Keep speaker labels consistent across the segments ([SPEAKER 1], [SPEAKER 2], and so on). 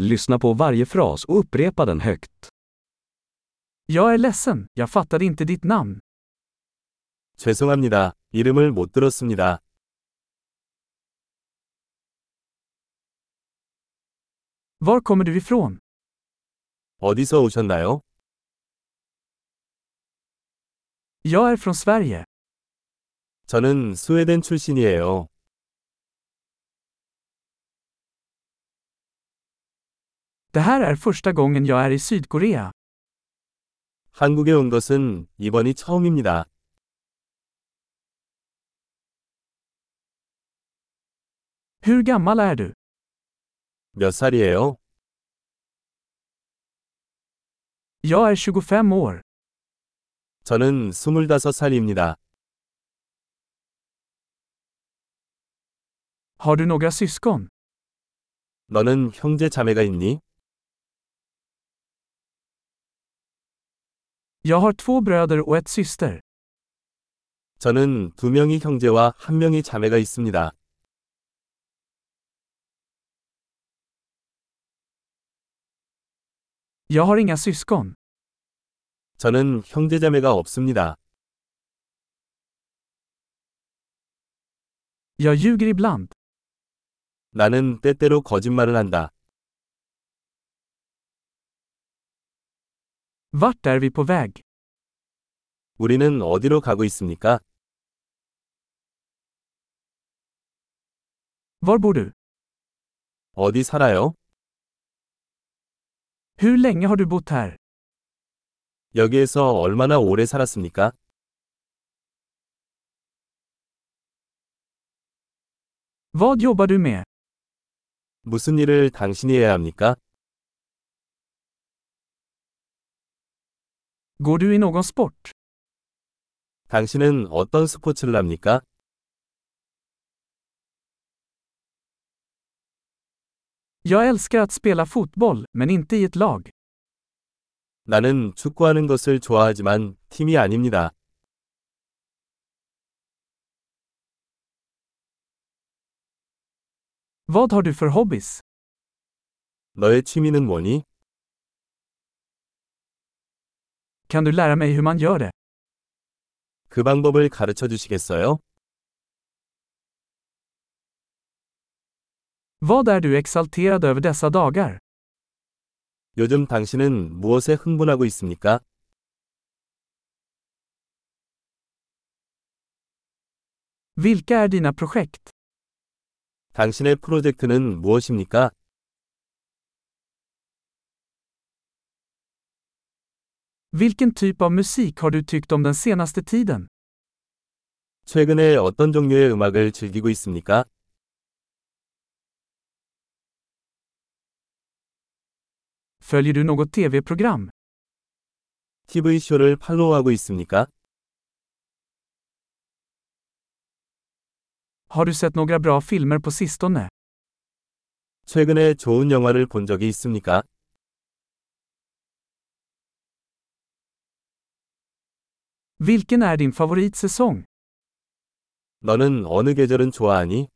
[SPEAKER 1] Lyssna på varje fras och upprepa den högt.
[SPEAKER 2] Jag är ledsen, jag fattade inte ditt namn.
[SPEAKER 3] 죄송합니다. 이름을 못 들었습니다.
[SPEAKER 2] Var kommer du ifrån?
[SPEAKER 3] 어디서 오셨나요?
[SPEAKER 2] Jag är från Sverige.
[SPEAKER 3] 저는 스웨덴 출신이에요.
[SPEAKER 2] Det här är första gången jag är i Sydkorea.
[SPEAKER 3] 한국에 온 것은 이번이 처음입니다.
[SPEAKER 2] Hur gammal är du?
[SPEAKER 3] 몇 살이에요?
[SPEAKER 2] Jag är 25 år.
[SPEAKER 3] 저는 25살입니다.
[SPEAKER 2] Har du några syskon?
[SPEAKER 3] 너는 형제 자매가 있니?
[SPEAKER 2] Jag har två bröder och ett syster.
[SPEAKER 3] 저는 두 명이 형제와 한 명이 자매가 있습니다.
[SPEAKER 2] Jag har inga syskon.
[SPEAKER 3] 저는 형제 자매가 없습니다.
[SPEAKER 2] Jag ljuger ibland.
[SPEAKER 3] 나는 때때로 거짓말을 한다.
[SPEAKER 2] Vart är vi på väg?
[SPEAKER 3] 우리는 어디로 가고 있습니까?
[SPEAKER 2] Var bor du?
[SPEAKER 3] 어디 살아요?
[SPEAKER 2] Hur länge har du bott här?
[SPEAKER 3] 여기에서 얼마나 오래 살았습니까?
[SPEAKER 2] Vad jobbar du med?
[SPEAKER 3] 무슨 일을 당신이 해야 합니까?
[SPEAKER 2] Går du i någon sport?
[SPEAKER 3] 당신은 어떤 스포츠를 합니까?
[SPEAKER 2] Jag älskar att spela fotboll, men inte i ett lag.
[SPEAKER 3] 나는 축구하는 것을 좋아하지만 팀이 아닙니다.
[SPEAKER 2] Vad har du för hobbys?
[SPEAKER 3] 너의 취미는 뭐니?
[SPEAKER 2] Kan du lära mig hur man gör det?
[SPEAKER 3] 그 방법을 가르쳐 주시겠어요?
[SPEAKER 2] Vad är du exalterad över dessa dagar?
[SPEAKER 3] 요즘 당신은 무엇에 흥분하고 있습니까?
[SPEAKER 2] Vilka är dina projekt?
[SPEAKER 3] 당신의 프로젝트는 무엇입니까?
[SPEAKER 2] Vilken typ av musik har du tyckt om den senaste tiden?
[SPEAKER 3] 최근에 어떤 종류의 음악을 즐기고 있습니까?
[SPEAKER 2] Följer du något tv-program?
[SPEAKER 3] TV쇼를 팔로우하고 있습니까?
[SPEAKER 2] Har du sett några bra filmer på sistone?
[SPEAKER 3] 최근에 좋은 영화를 본 적이 있습니까?
[SPEAKER 2] Vilken är din favoritsäsong?
[SPEAKER 3] 너는 어느 계절은 좋아하니?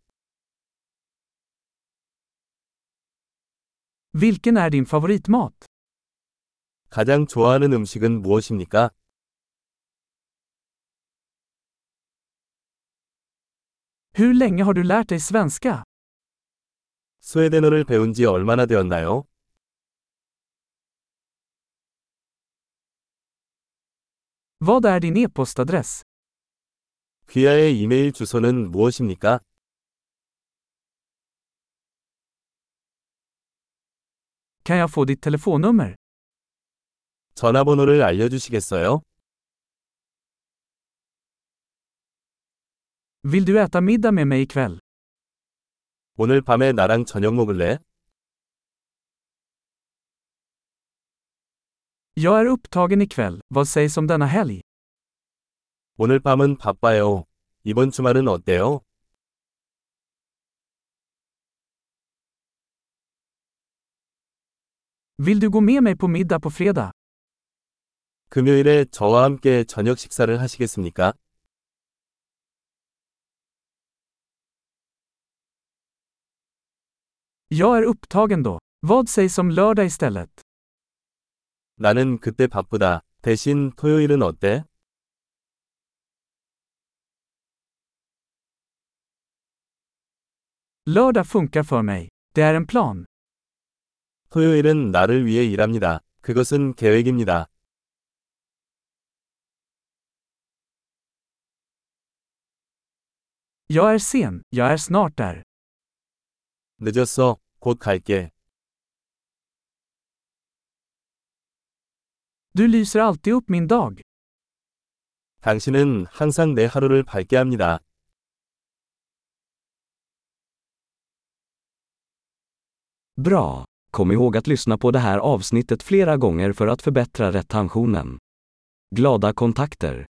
[SPEAKER 2] Vilken är din favoritmat?
[SPEAKER 3] 가장 좋아하는 음식은 무엇입니까?
[SPEAKER 2] Hur länge har du lärt dig svenska?
[SPEAKER 3] 스웨덴어를 배운 지 얼마나 되었나요?
[SPEAKER 2] Vad är din e-postadress?
[SPEAKER 3] 귀하의 이메일 주소는 무엇입니까?
[SPEAKER 2] Kan jag få ditt telefonnummer?
[SPEAKER 3] 전화번호를 알려주시겠어요?
[SPEAKER 2] Vill du äta middag med mig ikväll?
[SPEAKER 3] 오늘 밤에 나랑 저녁 먹을래?
[SPEAKER 2] Jag är upptagen ikväll, vad sägs om denna helg?
[SPEAKER 3] 오늘 밤은 바빠요. 이번 주말은 어때요?
[SPEAKER 2] Vill du gå med mig på middag på fredag?
[SPEAKER 3] 금요일에 저와 함께 저녁 식사를 하시겠습니까?
[SPEAKER 2] Jag är upptagen då. Vad sägs om lördag istället?
[SPEAKER 3] 나는 그때 바쁘다. 대신 토요일은 어때?
[SPEAKER 2] Lördag funkar för mig. Det är en plan.
[SPEAKER 3] 토요일은 나를 위해 일합니다. 그것은 계획입니다.
[SPEAKER 2] Jag är sen, jag är snart där.
[SPEAKER 3] 늦었어. 곧 갈게.
[SPEAKER 2] Du lyser alltid upp min dag.
[SPEAKER 3] 당신은 항상 내 하루를 밝게 합니다.
[SPEAKER 1] Bra! Kom ihåg att lyssna på det här avsnittet flera gånger för att förbättra retentionen. Glada kontakter!